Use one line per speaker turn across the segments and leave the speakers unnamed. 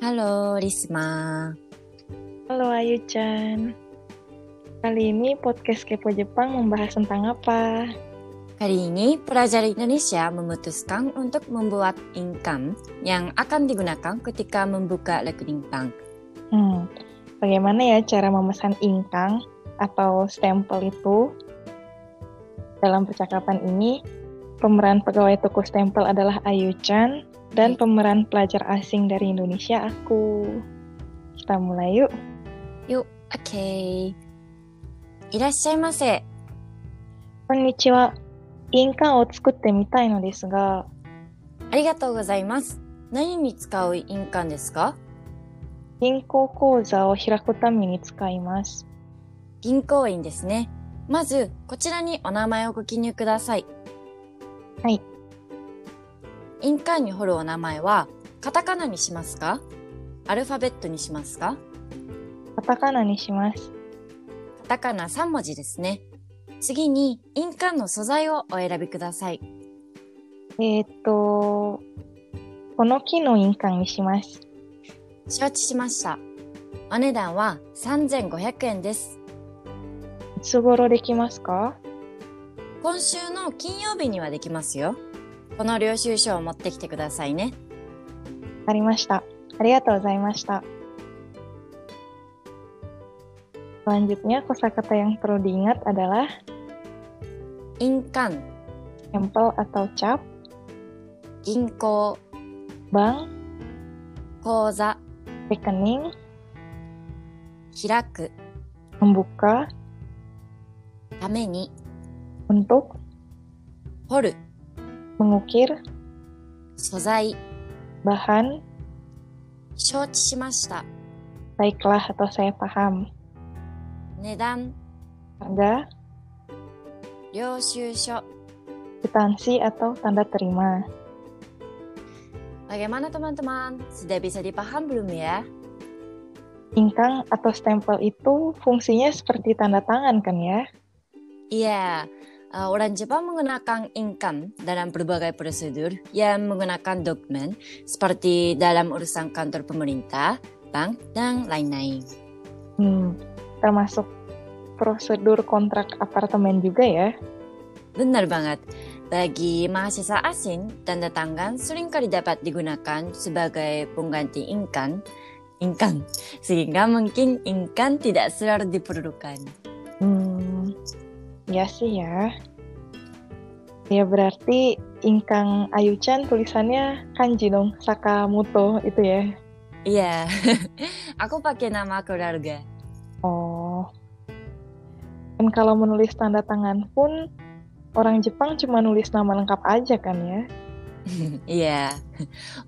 ハロー、リスマー.
Halo Ayu Chan. Kali ini podcast Kepo Jepang membahas tentang apa?
Kali ini, pelajar Indonesia memutuskan untuk membuat income yang akan digunakan ketika membuka rekening bank.
Hmm, bagaimana ya cara memesan ingkang atau stempel itu? Dalam percakapan ini, pemeran pegawai toko stempel adalah Ayu Chan dan pemeran pelajar asing dari Indonesia aku. Kita mulai yuk.
Yuk, oke. いらっしゃいませ。
こんにちは。印鑑を作ってみたいのですが、
ありがとうございます。何に使う印鑑ですか
銀行口座を開くために使います。
銀行員ですね。まず、こちらにお名前をご記入ください。
はい。
印鑑に彫るお名前は、カタカナにしますかアルファベットにしますか
カタカナにします。
カタカナ3文字ですね。次に、印鑑の素材をお選びください。
えー、っと、この木の印鑑にします。
承知しました。お値段は3500円です。
いつ頃できますか
今週の金曜日にはできますよ。この領収書を持ってきてくださいね。
わかりました。ありがとうございました。Selanjutnya kosakata yang perlu diingat adalah
印鑑、
stempel atau cap,
銀行、
bank,
口座、
rekening,
開く、
membuka,
ために、
untuk,
掘る、
mengukir,
素材、
bahan,
承知しました。
baiklah atau saya paham,
値段、
harga,
領収書。
kwitansi atau tanda terima.
Bagaimana teman-teman? Sudah bisa dipaham belum ya?
Ingkang atau stempel itu fungsinya seperti tanda tangan kan ya?
Iya, eh, orang Jepang menggunakan income dalam berbagai prosedur yang menggunakan dokumen seperti dalam urusan kantor pemerintah, bank, dan lain-lain.
Hmm, termasuk prosedur kontrak apartemen juga ya.
Benar banget. Bagi mahasiswa asing, tanda tangan seringkali dapat digunakan sebagai pengganti income, income, sehingga mungkin income tidak selalu diperlukan.
Hmm, ya sih ya. Ya berarti Ingkang Ayuchan tulisannya kanji dong, Sakamoto itu ya.
Iya, aku pakai nama keluarga.
Oh. Dan kalau menulis tanda tangan pun orang Jepang cuma nulis nama lengkap aja kan ya.
Iya.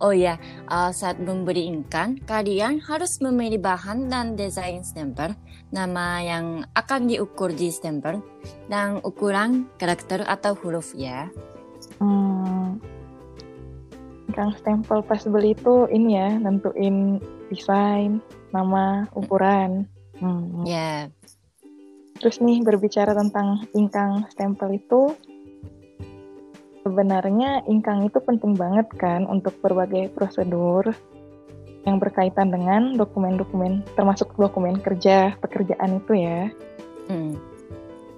Oh ya, eh, saat memberi ingkan, kalian harus memilih bahan dan desain stempel, nama yang akan diukur di stempel, dan ukuran karakter atau huruf ya.
Hmm. Ingkang stempel pas beli itu ini ya, nentuin desain, nama, ukuran. Hmm.
Ya,
Terus nih berbicara tentang ingkang stempel itu, sebenarnya ingkang itu penting banget kan untuk berbagai prosedur yang berkaitan dengan dokumen-dokumen, termasuk dokumen kerja, pekerjaan itu ya.
mm,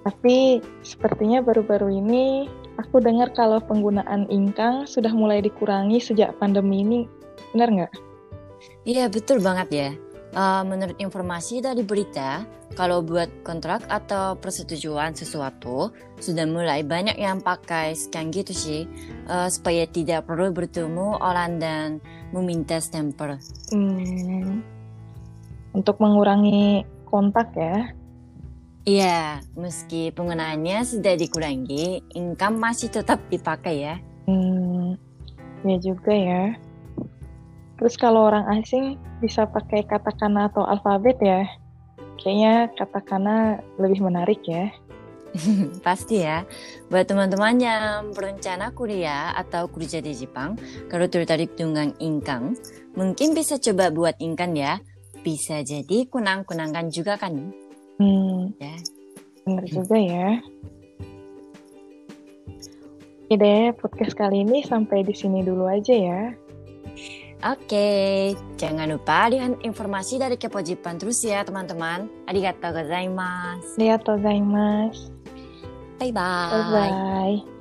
Tapi sepertinya baru-baru ini aku dengar kalau penggunaan ingkang sudah mulai dikurangi sejak pandemi ini. Benar nggak?
Iya betul banget ya. Eh, menurut informasi dari berita, kalau buat kontrak atau persetujuan sesuatu, sudah mulai banyak yang pakai scan gitu sih, eh, supaya tidak perlu bertemu orang dan meminta stempel.
Hmm, Untuk mengurangi kontak ya.
Iya, meski penggunaannya sudah dikurangi, income masih tetap dipakai ya.
Hmm, ya juga ya. Terus kalau orang asing bisa pakai katakana atau alfabet ya? Kayaknya katakana lebih menarik ya.
Pasti ya. Buat teman-teman yang berencana kuliah atau kerja di Jepang, kalau tertarik dengan income, mungkin bisa coba buat income ya. Bisa jadi kunang-kunangan juga kan.
Hmm,
Ya.
bener juga ya. Oke deh, podcast kali ini sampai di sini dulu aja ya.
Oke, jangan lupa lihat informasi dari Kepojipan terus ya teman-teman. Arigatou gozaimasu.
Arigatou gozaimasu.
Bye-bye.
Bye-bye.